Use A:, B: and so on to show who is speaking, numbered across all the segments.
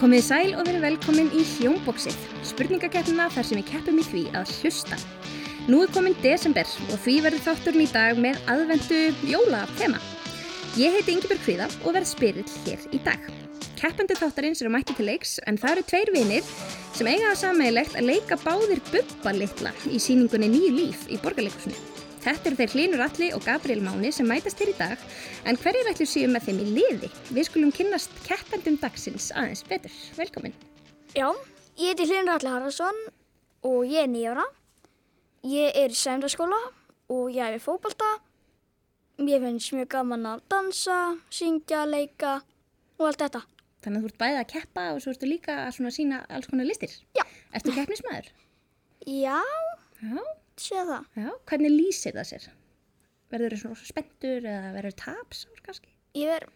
A: Komið þið sæl og verið velkomin í Hljómbóksið, spurningakeppnina þar sem við keppum í því að hlusta. Nú er komin desember og því verður þátturinn í dag með aðvendu jólatema. Ég heiti Ingibjörg Hvíða og verð spyrill hér í dag. Keppendur þáttarins eru mætti til leiks en það eru tveir vinir sem eiga það sammeilegt að leika báðir Bubba litla í síningunni Nýju líf í borgarleikusinu. Þetta eru þeir Hlynur Alli og Gabriel Máni sem mætast hér í dag, en hverjir ætlum síðan með þeim í liði? Við skulum kynnast keppendum dagsins aðeins betur. Velkomin.
B: Já, ég heiti Hlynur Alli Harðarsson og ég er nýjára. Ég er í sæmdaskóla og ég hefði fókbalta. Mér finnst mjög gaman að dansa, syngja, leika og allt þetta.
A: Þannig að þú ert bæðið að keppa og svo ertu líka að svona sína alls konar listir.
B: Já.
A: Ertu keppnismæður?
B: Já,
A: Já.
B: sé það.
A: Já, hvernig lýsir það sér? Verður þú svona rosa spenntur eða verður þú tapsár kannski?
B: Ég er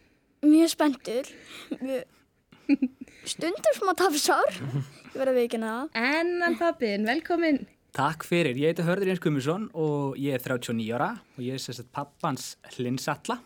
B: mjög spenntur, mjög stundum smá tafsár. Ég verði að veikina það.
A: Ennan pappin, velkomin.
C: Takk fyrir, ég heiti Hörður Jens Gummisson og ég er 39 ára og ég er sérstætt pappans hlinsalla.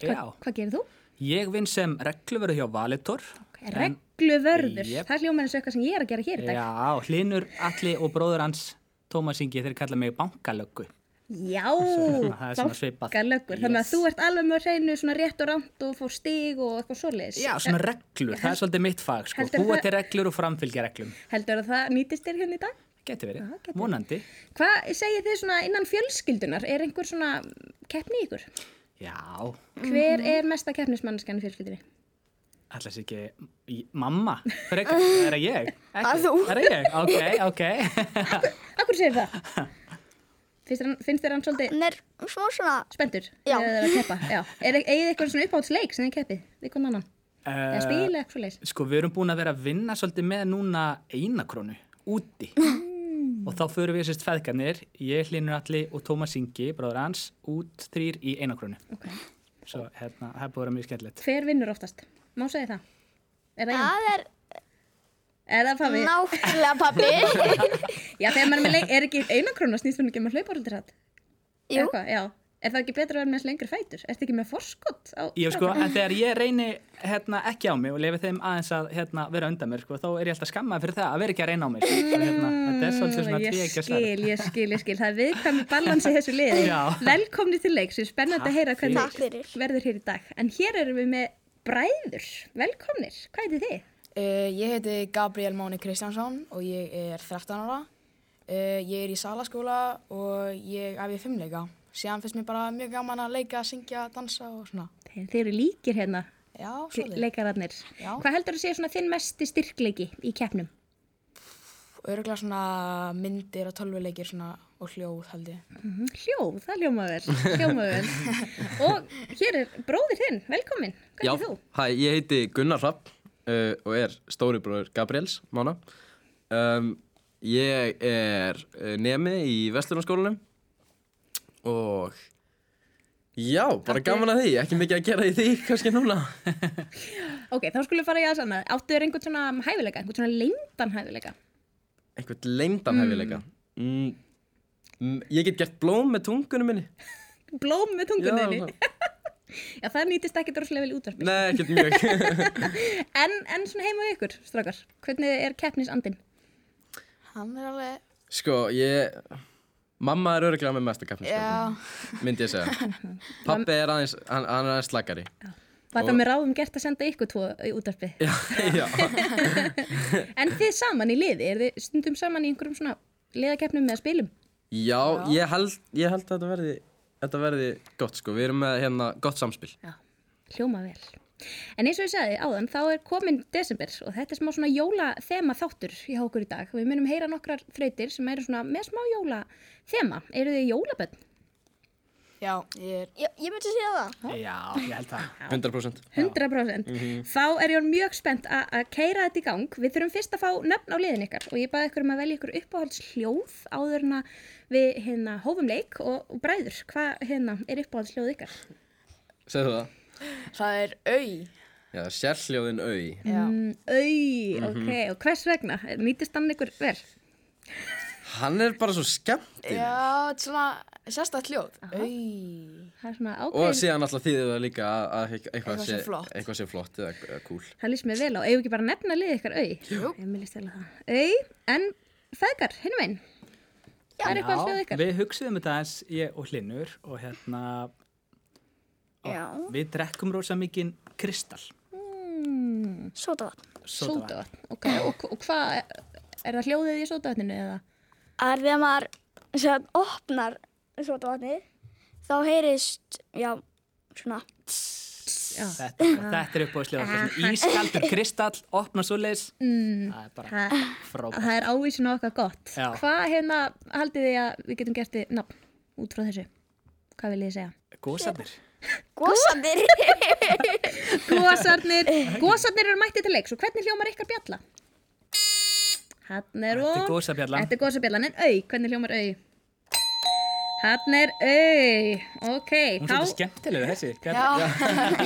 C: Já,
A: Hvað gerir þú?
C: ég vinn sem regluverðu hjá Valitor. en-
A: Regluvörður.
C: Jep.
A: Það er hljómar eins og eitthvað sem ég er að gera hér í dag.
C: Já, hlinur Alli og bróður hans Tómas Ingi, þeir kalla mig bankalöggu.
A: Já,
C: það er svona svipað.
A: bankalöggur. Þannig að
C: Yes.
A: þú ert alveg með að hreinu svona rétt og rámt og fór stig og eitthvað svoleiðis.
C: Já, svona reglur, það er svolítið mitt fag, sko.
A: Heldur
C: Búa
A: það-
C: til reglur og framfylgja reglum.
A: Heldur að það nýtist þér hérna í dag?
C: Geti verið,
A: Já, gæti verið.
C: vonandi.
A: Hvað segir þið svona innan fjölskyldunar? Er einhver svona keppni í ykkur?
C: Já, Mhm.
A: Hver er mesta keppnismannskan í fjölskyldunni?
C: allars ekki, í- mamma, frekar, er það ég?
B: Að þú.
C: Er það ég? Ok, ok.
A: Akkur segir það? Finnst, hann, finnst þér hann svolítið
B: Hann er smá svona,
A: spendur?
B: Já.
A: Þegar það er að keppa, já. Er eigið eitthvað svona uppáhaldsleik sem þið keppið? Við komum annan. Eða
C: Eh,
A: spila eitthvað leis.
C: Sko, við erum búin að vera að vinna svolítið með núna einakrónu úti og þá förum við sérst feðgarnir, ég, Hlinur Alli og Tómas Ingi, bróður hans, út þrýr í einakrónu.
A: Ok.
C: Svo hérna, það er búin að vera mjög skemmtilegt.
A: Hver vinnur oftast? Má segja það? Er það ég?
B: það er
A: Er það pabbi?
B: náttúrulega pabbi.
A: Já, þegar maður er með leik, er ekki einankrona snýst hún ekki með hlauparöldirhatt?
B: Jú,
A: Já. Er það ekki betra að vera með lengri fætur? Er það ekki með forskott? Á,
C: Ég sko, en þegar ég reyni hérna, ekki á mig og lefi þeim aðeins að hérna, vera undan mér, sko, þá er ég alltaf skammað fyrir það að vera ekki að reyna á mig. Sko. Hérna, þetta er svolítið svona
A: ég
C: tvíegja sverð.
A: skil, ég skil, ég skil. Það er viðkvæmi balansi í þessu liði.
C: Já.
A: Velkomni til leiks, við spennandi að heyra hvernig
B: Takk fyrir.
A: verður hér í dag. En hér erum við með bræður. Velkomnir, hvað heitir þið?
D: Uh, ég heiti Gabriel Máni Kristjánsson og ég er 13 ára. Uh, ég er í salaskóla og ég æfi fimmleika. Síðan finnst mér bara mjög gaman að leika, syngja, dansa og svona.
A: Þeir, þeir eru líkir hérna,
D: Já, svolítið.
A: leikararnir.
D: Já.
A: Hvað heldur þú sé svona þinn mesti styrkleiki í keppnum?
D: Öruglega svona myndir og tölvuleikir svona og hljóð held ég.
A: Mhm, Hljóð, það hljómaði vel, hljómaði vel. Og hér er bróðir þinn, velkomin, hvað
E: Já,
A: er þú?
E: hæ, ég heiti Gunnar Rapp uh, og er stóribróður Gabriels mána. Um, ég er uh, nemi í Vestlunarskólanum og já, bara gaman að því, ekki mikið að gera í því kannski núna.
A: Ok, þá skulum við fara í aðeins annað. Áttu þér einhvern svona hæfileika, einhvern svona leyndan hæfileika?
E: Einhvern leyndan mm. hefileika. Mm, mm, ég get gert blóm með tungunum minni.
A: Blóm með
E: Já,
A: tungunni. Já, það nýtist ekkert droslega vel í útvarpi.
E: Nei, ekkert mjög.
A: En, en svona heima við ykkur, strákar, hvernig er keppnisandinn?
D: Hann er alveg,
E: sko, ég... Mamma er öruglega með mesta kaffin,
D: já,
E: myndi ég segja. Pappi er aðeins, hann, hann er aðeins slakari.
A: Var það með ráðum gert að senda ykkur tvo í útvarpi?
E: Já, já. Eh.
A: En þið saman í liði, er þið stundum saman í einhverjum svona liðakeppnum með spilum?
E: Já, Ég, held, ég held að þetta verði, þetta verði gott sko, við erum með hérna gott samspil.
A: Já, hljóma vel. En eins og ég sagði áðan, þá er komin desember og þetta er smá svona jólathema þáttur hjá okkur í dag. Við munum heyra nokkrar þrautir sem eru svona með smá jólathema. Eru þið jólabönn?
D: já, ég er,
B: ég, ég myndi segja það.
C: Já, ég held það.
E: 100%.
A: 100% þá er ég orðin mjög spennt a- að keira þetta í gang við þurfum fyrst að fá nöfn á liðin ykkar og ég baði ykkur um að velja ykkur uppáhalds hljóð áður en að við hérna hófum leik og, og bræður, hvað hérna er uppáhalds hljóð ykkar?
E: Segðu það?
D: það er au.
E: Já, sérhljóðin au.
D: Já,
A: Mm, Au, ok, og hvers vegna? Nýtist hann ykkur vel?
E: Hann er bara svo skemmtinn
D: Já, þetta er svona sérstætt hljóð. Au.
A: Það er svona
E: Og
A: ákveðin,
E: síðan alltaf þýðir það líka að- að eitthvað,
D: Eitthvað sé flott.
E: eitthvað sé flott eða eða cool
A: það lýst mér vel á, eigum við ekki bara að nefna liðið ykkar au? Jú. Ég mér lýst vel á það. Au, en feðgar, hinum einn. Það er eitthvað hljóð ykkar.
C: við hugsiðum þetta eins ég og Hlinur og hérna
B: Já.
C: við drekkum rosa mikinn kristall
A: Mm,
B: Sotavatn.
C: sódavatn.
A: Sódavatn, ok. Og, og hvað, er það hljóðið í sódavatninu eða?
B: Það er þegar maður sem sagt, opnar sotavatnið, þá heyrist, já, svona,
A: Já.
C: Þetta, þetta er upp á sljóða Ískaldur kristall, opna svoleiðis
A: Mm,
C: Það er bara
A: það,
C: frábært
A: það er ávísin á okkar gott.
C: Já.
A: Hvað hérna haldið þið að við getum gert þið nafn út frá þessu? Hvað vil ég segja?
C: Góðsarnir
B: góðsandir.
A: Gósarnir, gósarnir eru mættið til leiks og hvernig hljómar ykkar bjalla? Hann er
C: Þetta er
A: hún.
C: gósabjallan.
A: Þetta er gósabjallan, en au, hvernig hljómar au? Hann er au, ok,
C: Hún er svolítið
A: þá
C: skemmtilega þessi
D: Já.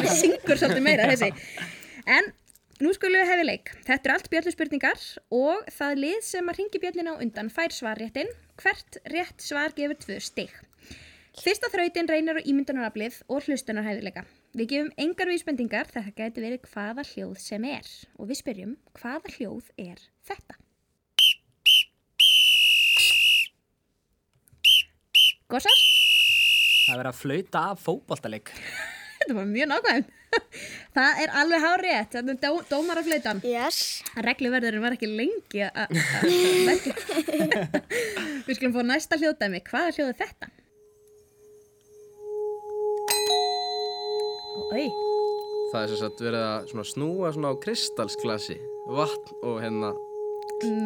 A: syngur svolítið meira þessi. En nú skulum við hefja leik. Þetta eru allt bjölluspurningar og það lið sem að ringi bjöllina á undan fær svarréttin. Hvert rétt svar gefur tvö stig. Fyrsta þrautin reynir á ímyndunaraflið og hlustunarhæfileika. Við gefum engar vísbendingar þetta gæti verið hvaða hljóð sem er og við spyrjum hvaða hljóð er þetta? Gósar,
C: Það er verið að flauta af fótboltaleik
A: þetta var mjög nákvæm. Það er alveg hárétt, þetta er dó, dómaraflautan.
B: Yes.
A: Regluverðurinn var ekki lengi að að- að merkja. Við skulum fá næsta hljóðdæmi. Hvaða hljóð er þetta? Ói,
E: Það er sem sagt verið að svona snúa svona á kristalsglasi Vatn og hérna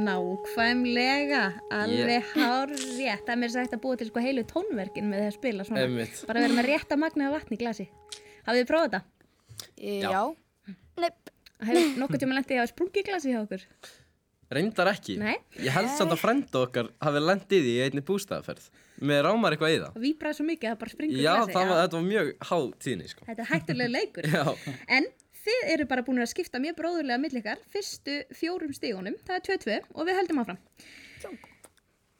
A: nákvæmlega, alveg hárrétt. Það er mér sagt að búa til sko heilu tónverkin með því að spila svona.
E: Einmitt.
A: Bara verið með rétta magna af vatni í glasi. Hafið þið prófað þetta?
D: Já.
B: Nei,
A: Hefur nokkuð tíma lendið að hafa sprungið glasi hjá okkur?
E: Reyndar ekki
A: Nei.
E: Ég held samt að frenda okkar hafi lendið í einni bústæðaferð Með rámar eitthvað í það
A: Það víbraði svo mikið að það bara springur
E: Já,
A: glasi.
E: það var, þetta var mjög há tíðni sko
A: Þetta er hættulega leikur.
E: Já,
A: En þið eru bara búin að skipta mjög bróðurlega mill ykkar fyrstu fjórum stígunum, það er 22 og við höldum áfram.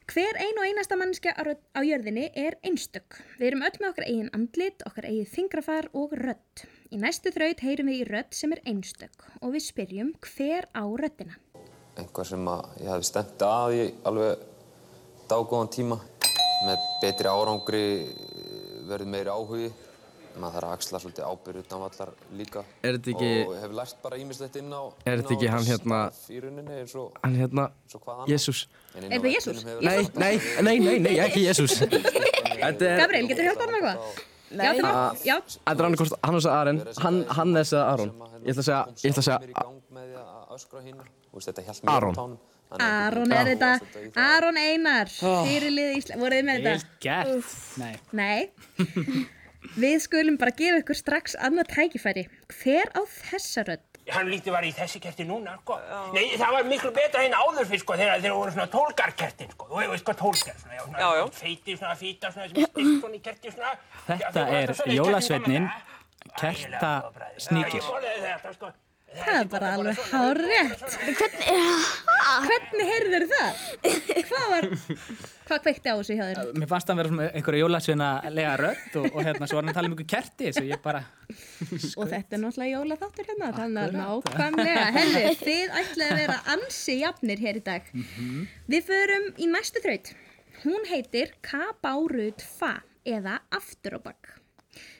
A: Hver ein og einasta mannskja á, rödd- á jörðinni er einstök. Við erum öll með okkar eigin andlit, okkar eigið fingrafar og rödd. Í næstu þraut heyrum við í rödd sem er einstök og við spyrjum hver á röddina.
F: einhver sem að ég hefði stemt að í alveg dágóðan tíma. Með betri árangri verður meiri áhugi. Maður þarf að axla svolítið ábyrð utan vallar líka.
E: Er þetta ekki-
F: Og hefur lært bara ímislegt inn á...
E: Er þetta
F: inn á
E: ekki hann hérna-
F: stað Í rauninni eins og...
E: hann hérna
F: eins og hvað annað.
E: Jésús
F: En
A: Er
F: inn á
A: þetta
F: vellinum
A: Jesús?
F: hefur
E: Nei, nei,
F: hann
E: nei, nei, nei, ekki Jésús Þetta er,
A: Gabriel, getur þú hjálpað hann með eitthvað?
D: Nei.
A: Já, þú mátt- já,
E: þetta er annarkost Hannes að Aron, hann, Hannes að Aron
F: hérna
E: Ég ætla að segja, ég ætla að
F: Mér í
E: segja
F: gang með því að öskra hinn. Þú veist, þetta hjælt mér
E: Aron.
F: á tánum. Þannig að ég
A: Ah. Aron
F: get
A: er
F: ekki
A: þetta, Ah.
F: búast í það.
A: Aron Einar, fyrirlið Ísland, voruð þið með þetta?
C: Vel gert Nei,
A: Nei, við skulum bara gefa ykkur strax annað tækifæri. Hver á þessa rödd?
G: Hann lítið var í þessi kerti núna, sko. Nei, það var miklu betra hérna áður fyrir, sko, þegar þeir voru svona tólgarkertin, sko. Þú veist hvað tólgar, svona, já, svona, já, já. feiti, svona, fýta, svona, sem stilt svona í kerti, svona. Já,
C: þetta
G: þeir voru
C: er
G: alltaf svona í kertum
C: jólasveitnin
G: gamla daga.
C: Kerta
G: Ég
C: sníkir
G: svoleiði þetta, sko.
A: Það er bara alveg hárétt. Hvernig heyrður það? Hvað var, hvað kveikti á þessu hjá þér?
C: Mér fannst það vera svona einhverja jólasveina lega rödd og, og hérna svo var hann að tala um ykkur kerti svo ég bara
A: Og þetta er náttúrulega jólaþáttur hérna, þannig að nákvæmlega. Herðu, þið ætlaði að vera ansi jafnir hér í dag. Við förum í næstu þraut. Hún heitir Kabárut Fa eða Aftur á bakk.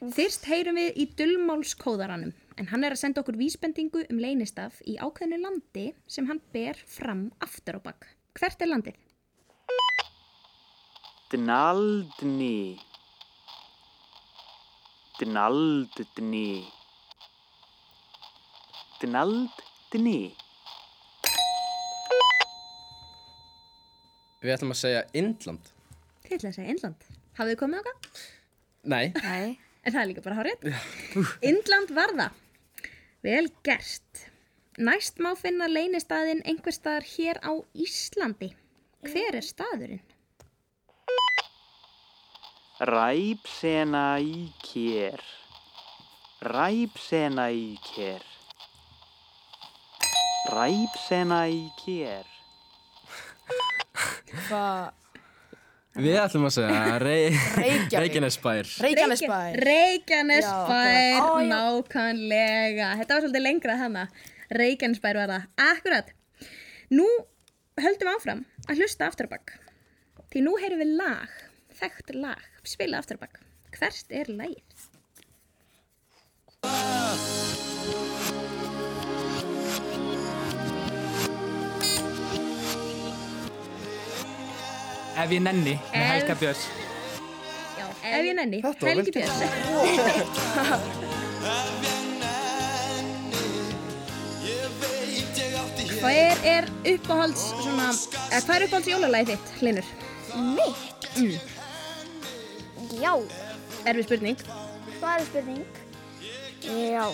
A: Fyrst heyrum við í dullmálskóðaranum en hann er að senda okkur vísbendingu um leynistaf í ákveðnu landi sem hann ber fram aftur á bakk. Hvert er landið?
H: Dnaldni. Dnaldni. Dnaldni.
E: Við ætlum að segja Indland
A: Þið ætlaði að segja Indland. Hafið þið komið okkar?
E: Nei,
B: Nei.
A: En það er líka bara hárið. Indland var það. Vel gert. Næst má finna leynistaðinn einhver staðar hér á Íslandi. Hver er staðurinn?
H: Ræpsena í kér. Ræpsena í kér. Ræpsena í kér.
D: Hvað?
E: Við ætlum að segja rey...
D: Reykjavík.
E: Reykjanesbær.
D: Reykjanesbær. Já,
A: Reykjanesbær,
D: akkurat. Á, já.
A: nákvæmlega. Þetta var svolítið lengra hana. Reykjanesbær var það. Akkurat. Nú höldum við áfram að hlusta aftur á bak. Því nú heyrum við lag, þekkt lag, spila aftur á bak. Hvert er lagið?
C: Ef ég nenni með
A: Ef-
C: Helga Björns
A: Já, ef ég nenni, Helgi Björns. Hver er uppáhalds, svona, eða hvað er uppáhalds jólalagið þitt, Hlinur?
B: Mitt? Já,
A: Erfið spurning.
B: hvað er spurning? Já,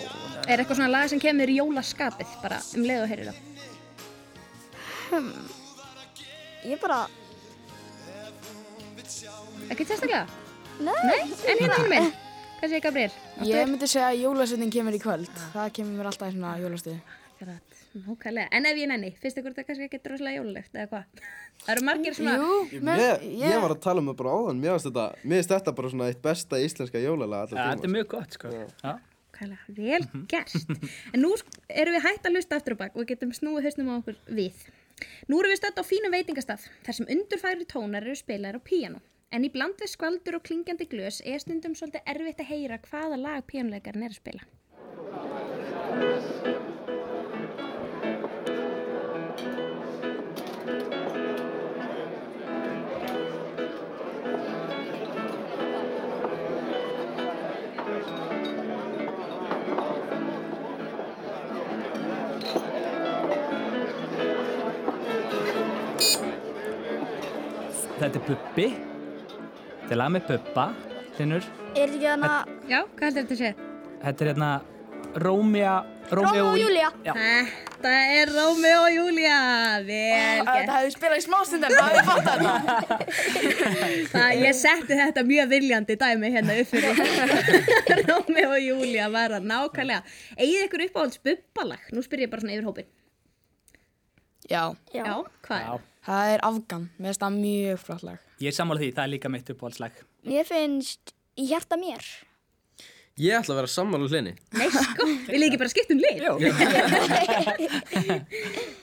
A: Er eitthvað svona lag sem kemur í jólaskapið, bara um leið og heyrir það?
B: ég bara,
A: Ekkert sérstaklega?
B: nei,
A: Nei, en hérna hinn minn. Hvað segir Gabriel? Áttu
D: Ég
A: er-
D: myndi segja að jólasveitin kemur í kvöld. Það kemur mér alltaf í svona jólastuði.
A: Akkurat, nákvæmlega. En ef ég nenni, finnst ykkur þetta kannski ekki droslega jólalegt eða hvað? Það eru margir svona...
D: Jú,
I: Mér, ég var að tala um það bara áðan, mér finnst þetta, mér finnst þetta bara svona eitt besta íslenska jólalega
C: Ja,
I: allar
C: Þetta er mjög gott sko Já.
A: Nákvæmlega, vel gert. En nú sk- erum við hægt að hlusta aftur á bak og við getum snúið hausnum á okkur við. Nú erum við stödd á fínum veitingastað, þar sem undurfæri tónar eru spilaðir á píano. En í bland við skvaldur og klingjandi glös er stundum svolítið erfitt að heyra hvaða lag píanuleikarinn er að spila.
C: Þetta er Bubbi Þetta er lag með Bubba Hlinur
B: er þetta ekki hana,
A: Já, hvað heldur þetta að segja?
C: Þetta er hérna Rómea
B: Rómeo og Júlía.
C: Já.
A: Þetta er Rómeo og Júlía, vel
D: Að Þetta
A: gert.
D: hefði spilað í smástund en það hefði fatt þetta.
A: Það, ég setti þetta mjög viljandi dæmi hérna upp fyrir. Rómeo og Júlía var það nákvæmlega. Egið ykkur uppáhalds bubbalag? Nú spyr ég bara svona yfir hópin.
D: Já,
B: Já.
A: Já, hvað er
C: Já,
A: það?
D: það er Afgan. Mér finnst það mjög flott lag.
C: ég er sammála því, það er líka mitt uppáhaldslag
B: Mér finnst í hjarta mér.
E: Ég ætla að vera sammála hlinni.
A: Nei, sko, vil ég ekki bara skipta um lið?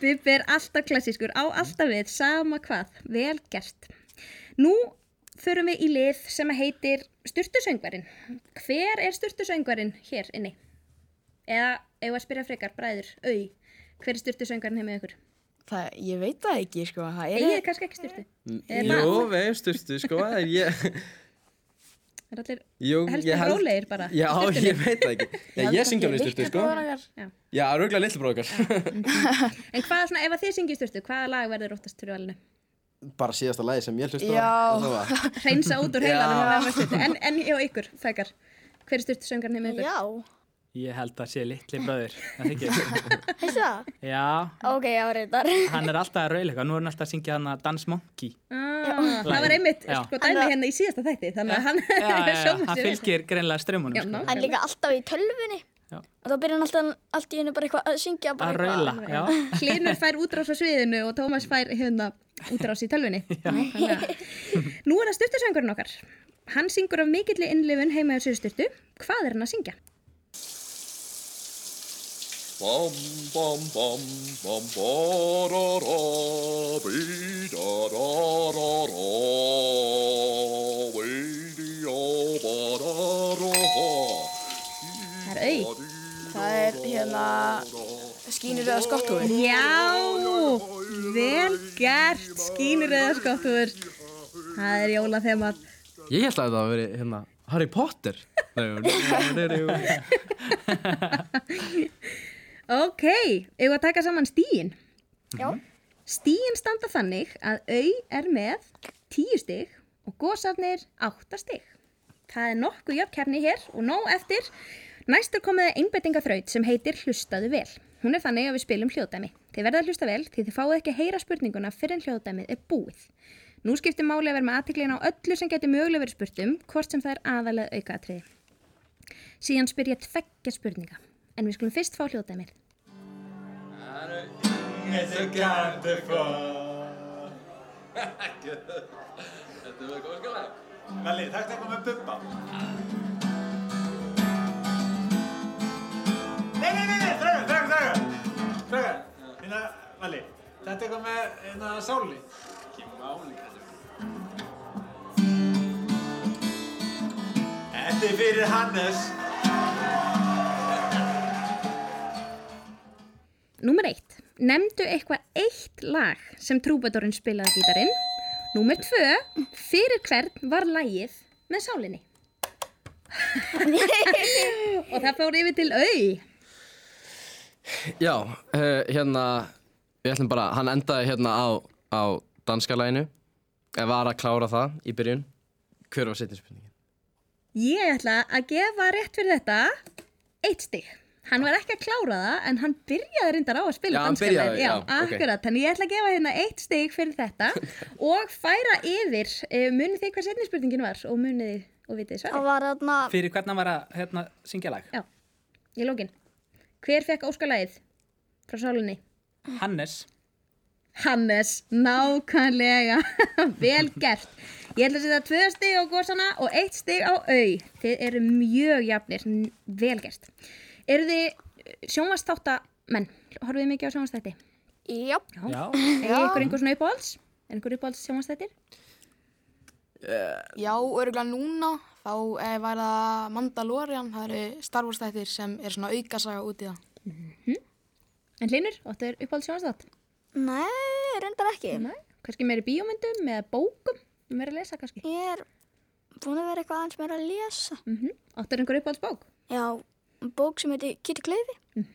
A: Bubbi er alltaf klassískur, á alltaf við, sama hvað, vel gert. Nú förum við í lið sem að heitir Sturtusöngvarinn. Hver er Sturtusöngvarinn hér inni? Eða, ef að spyrja frekar, bræður, au, hver er Sturtusöngvarinn heim með ykkur?
D: Það, ég veit það ekki, sko. Það
A: Egið er
D: er,
A: kannski ekki Sturtu. Er
E: Jú, við hefum styrstu, sko, en ég...
A: Er allir
E: Jú,
A: helst
E: ég held...
A: rólegir bara? í
E: Já,
A: sturtunni?
E: ég veit það ekki. Já, ég syngi alveg styrstu, sko.
A: Já.
E: Já, röglega lillbrókar.
A: En hvað svona, ef að þið syngið Sturtu, hvaða lag verður óttast fyrir valinu?
I: Bara síðasta lagi sem ég hlusta á,
D: Já.
I: og það var
A: reynsa út úr heilanum að verða styrtu en, en hjá ykkur, fækar hver er styrtu söngarni með ykkur?
B: Já,
C: Ég held að sé litli bröður en það ekki.
B: veistu það?
C: Já,
B: Ok, já, reyndar.
C: hann er alltaf að rauleika Nú er hann alltaf að syngja hann að Dance Monkey
A: Ah, það var
C: Lagið.
A: einmitt
C: Já.
A: sko dæmi hérna í síðasta þætti þannig að hann
C: Já, já, já,
A: sjóma
C: hann
A: sér upp.
C: fylgir greinlega strömmunum
A: Já,
C: sko.
A: ná.
B: Hann er líka alltaf í tölvunni.
C: Já.
B: Og þá byrjar hann alltaf, allt í hennu bara eitthvað að syngja. bara
C: Að
B: eitthvað.
C: raula, já
A: Hlynur fær útrás á sviðinu og Tómas fær hérna útrás í tölvunni Þannig að- Nú er það styrtu söngurinn okkar Hann syngur af mikilli innlifun heima hjá sér styrtu Hvað er hann að syngja?
J: Bum bum bum bum ba da da be da da da da we di o ba da da
A: Það er au
D: það er hérna skínur eða skottúi.
A: Já, vel gert skínur eða skottur Það er jóla
E: Ég held að þetta hafi verið, hérna, Harry Potter. Nei,
A: Ok, eigum við að taka saman stíin.
B: Já.
A: Stíin standa þannig að au er með tíu stig og gósarnir átta stig. Það er nokkuð jöfnkefni hér og nóg eftir. Næstur komið einbettingaþraut sem heitir Hlustaðu vel. Hún er þannig að við spilum hljóðdæmi. Þið verða að hlusta vel því þið fáið ekki að heyra spurninguna fyrir en hljóðdæmið er búið. Nú skiptir máli að vera með aðtiklina á öllu sem getur mögulega verið spurtum, hvort sem það er aðalega aukaatriði. Síðan spyr ég tveggja spurninga, en við skulum fyrst fá hljóðdæmið.
J: It's a counterfeit.
E: Þetta er góð skalag.
J: Melli, takk takk með bubba. Nei, nei, nei, nei, þröggur, þröggur, þröggur. Þröggur, hérna, Melli, þetta er eitthvað með, hérna, sáli. Ekki máli, þetta er. Þetta er fyrir Hannes.
A: Númer eitt. Nemndu eitthvað eitt lag sem trúbadorinn spilaði á gítarinn. Númer tvö. Fyrir hvern var lagið með sálinni? og það fór yfir til au.
E: Já, uh, hérna, við ætlum bara, hann endaði hérna á, á danska læginu. Ég var að klára það í byrjun. Hver var setjum spurningin?
A: Ég ætla að gefa rétt fyrir þetta eitt stig. Hann var ekki að klára það en hann byrjaði reyndar á að spila
E: Já, hann
A: danska
E: byrjaði,
A: lagið.
E: já,
A: já,
E: ok.
A: akkurat. Þannig ég ætla að gefa hérna eitt stig fyrir þetta og færa yfir. Eh, Munið þið hvað setni spurningin var og munið þið og vitið þið
B: Það
A: svarið.
B: var þarna,
C: Fyrir hvernig hann var að hérna, syngja lag?
A: Já, í lókin. Hver fekk óskalagið frá sálinni?
C: Hannes.
A: Hannes, nákvæmlega, vel gert. Ég ætla að setja tvö stig á gósana og eitt stig á au. Þið eru mjög jafnir, n- vel gert. Eru þið sjónvastáttamenn? Horfið þið mikið á sjónvastætti?
B: já,
C: Já.
A: Er ykkur einhver svona uppáhalds? Er ykkur uppáhalds sjónvastættir?
D: Já, örgulega núna þá eh, var það Mandalorian, það eru Star Wars þættir sem er svona aukasaga út í það.
A: En hlinur, áttu þér uppáhalds sjónvastátt?
B: nei, reyndar ekki.
A: Nei. Kannski meiri bíómyndum eða bókum? Meiri að lesa kannski?
B: Ég er búin að vera eitthvað aðeins meira að lesa.
A: Mm Áttu þér einhver uppáhalds bók?
B: Já, bók sem heiti Kitty Kleifi.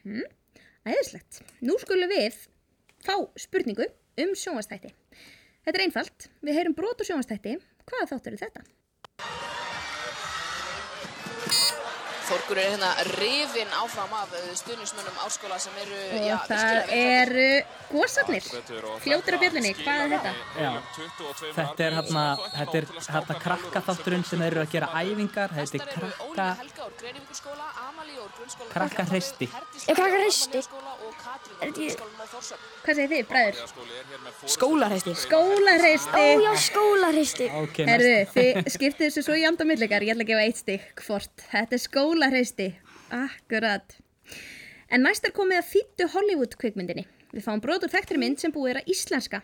A: Æðislegt. Nú skulum við fá spurningu um sjónvastætti. Þetta er einfalt. Við heyrum brot og sjónvastætti. Hvaða þáttur er þetta?
K: Þorgur er hérna rifin áfram af eh, stuðningsmönnum áskóla sem eru,
A: Og
K: já,
A: það eru gósarnir. Fljótur á björlinni. Hvað er þetta?
C: Já. Þetta er hérna, þetta er hérna krakkaþátturinn sem þeir eru að gera æfingar. Þetta er
K: eru
C: krakka,
K: Ólína Helga úr Greinivíkurskóla, Amalí úr grunnskóla
C: Krakkahreisti.
B: Er krakkahreisti?
K: og Katrín úr
B: Er þetta ég-
K: grunnskólanum á Þórsöfn
A: Hvað segir þið, bræður?
D: Skólarheisti.
A: Skólarreisti.
B: Ó, já, skólarheisti.
C: ok,
A: Herðu, þið skiptið þessu svo í andamillikar. Ég ætla að gefa eitt stig hvort. Þetta er skólarreisti. Akkurat. En næst er komið að þýttu Hollywood kvikmyndinni. Við fáum brot úr þekktri mynd sem búið er að íslenska.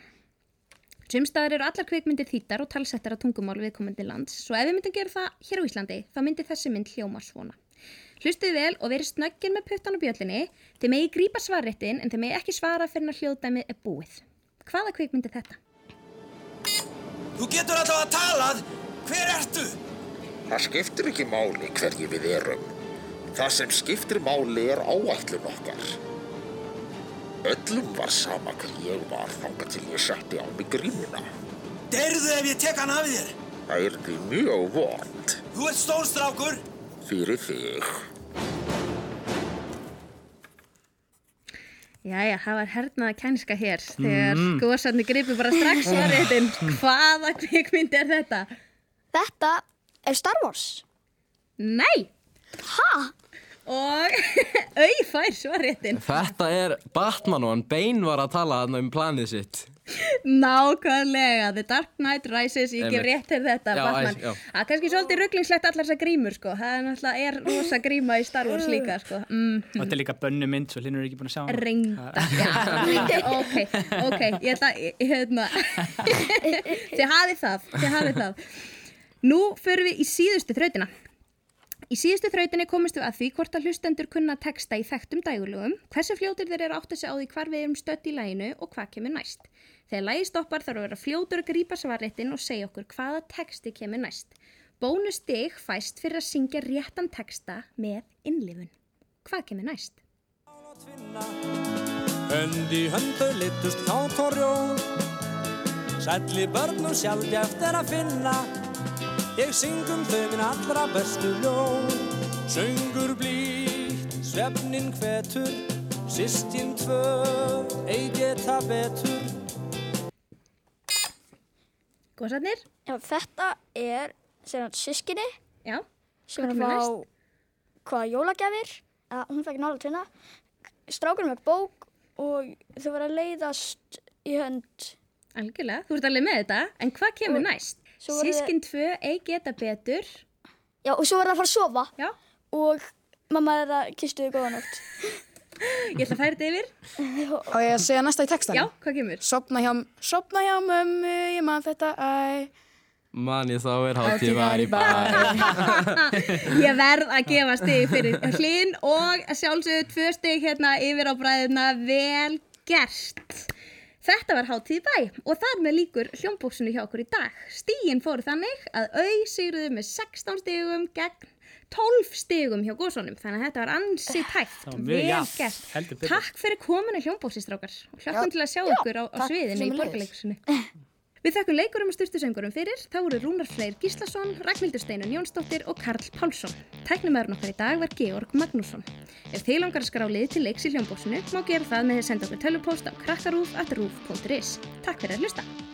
A: Sumstaðar eru allar kvikmyndir þýttar og talsettar á tungumál viðkomandi lands, svo ef við myndum gera það hér á Íslandi, þá myndi þessi mynd hljóma svona. Hlustið vel og verið snöggir með puttan og bjöllinni, þið megi grípa svarréttin en þið megi ekki svara fyrir að hljóðdæmið er búið. Hvaða kvikmynd er þetta?
J: Þú getur alltaf að talað. Hver ertu?
L: Það skiptir ekki máli hverju við erum. Það sem skiptir máli er áætlun okkar. Öllum var sama hver ég var þangað til ég setti á mig grímuna.
J: Deyrðu ef ég tek hann af þér.
L: Það er því mjög vond
J: Þú ert stórstrákur.
L: fyrir þig.
A: Jæja, það var hernaða kænska hér þegar
E: Mm-hmm.
A: mm. góðsarni gripu bara strax svarréttin. Hvaða kvikmynd er þetta?
B: Þetta er Star Wars.
A: Nei!
B: Ha?
A: Og au fær svarréttin.
E: Þetta er Batman og hann Bane var að tala þarna um planið sitt.
A: Nákvæmlega, The Dark Knight Rises, ég gef
E: Einmitt.
A: rétt til þetta,
E: Já,
A: Batman.
E: æs- já.
A: Það er kannski svolítið rugglingslegt allar þessar grímur, sko. Það er náttúrulega er rosa gríma í Star Wars líka, sko. Mm,
C: Og þetta er líka bönnu mynd, svo hlinur er ekki búin að sjá hana.
A: reynda. Já, ok, ok, ég ætla, ég- hérna, þið hafið það, þið hafið það. Nú förum við í síðustu þrautina. Í síðustu þrautinni komumst við að því hvort að hlustendur kunna texta í þekktum dægulögum, hversu fljótir þeir eru átt að segja á því hvar við erum stödd í læginu og hvað kemur næst. Þegar lægi stoppar þarf að vera fljótur að grípa svarréttin og segja okkur hvaða texti kemur næst. Bónustig fæst fyrir að syngja réttan texta með innlifun. Hvað kemur næst?
G: Hönd í höndu litust kát og rjóð Sælli börnum sjaldjæft er að finna Ég syngum þau minn allra bestu ljóð Söngur blítt, svefnin hvetur Sistin tvö, ei geta betur
A: Góðsarnir?
B: Já, þetta er sem hann sískinni
A: Já.
B: sem
A: Hvað
B: hvað
A: er
B: fá
A: næst?
B: hvað jólagjafir að hún fekk nála tvinna strákur með bók og þau voru að leiðast í hönd
A: Algjörlega, þú ert alveg með þetta, en hvað kemur næst?
B: svo voru-
A: Sískin 2, ei geta betur.
B: Já, og svo er það að fara að sofa.
A: Já.
B: Og mamma er að kistu þig góða nótt.
A: Ég ætla að færa þetta yfir.
D: Á ég að segja næsta í textan?
A: Já, hvað kemur?
D: Sopna hjá, sopna hjá mömmu, ég man þetta, æ.
E: Manni þá er hátíð var í bæ
A: Ég verð að gefa stig fyrir hlinn og að sjálfsögðu tvö stig hérna yfir á bræðina vel gert. Þetta var hátíð í bæ og þar með líkur hljómbóksinu hjá okkur í dag. Stígin fóru þannig að au sigruðu með 16 stigum gegn 12 stigum hjá góðsónum. Þannig að þetta var ansi tætt.
C: Það var mjög
A: Vel
C: jafnt.
A: gert.
C: Heldur betur.
A: Takk fyrir kominu hljómbóksistrákar og hlökkum
B: Já.
A: til að sjá
B: Já,
A: ykkur á, á
B: takk
A: sviðinu í
B: sömuleiðis.
A: borgarleikusinu. Við þakkum leikurum og styrtusöngurum fyrir, þá voru Rúnar Freyr Gíslason, Ragnhildur Steinun Jónsdóttir og Karl Pálsson. Tæknumæðurinn okkar í dag var Georg Magnússon. Ef þið langar að skrá liði til leiks í hljómbósinu, má gera það með að senda okkur tölvupóst á krakkarúf.rúf.is. Takk fyrir að hlusta!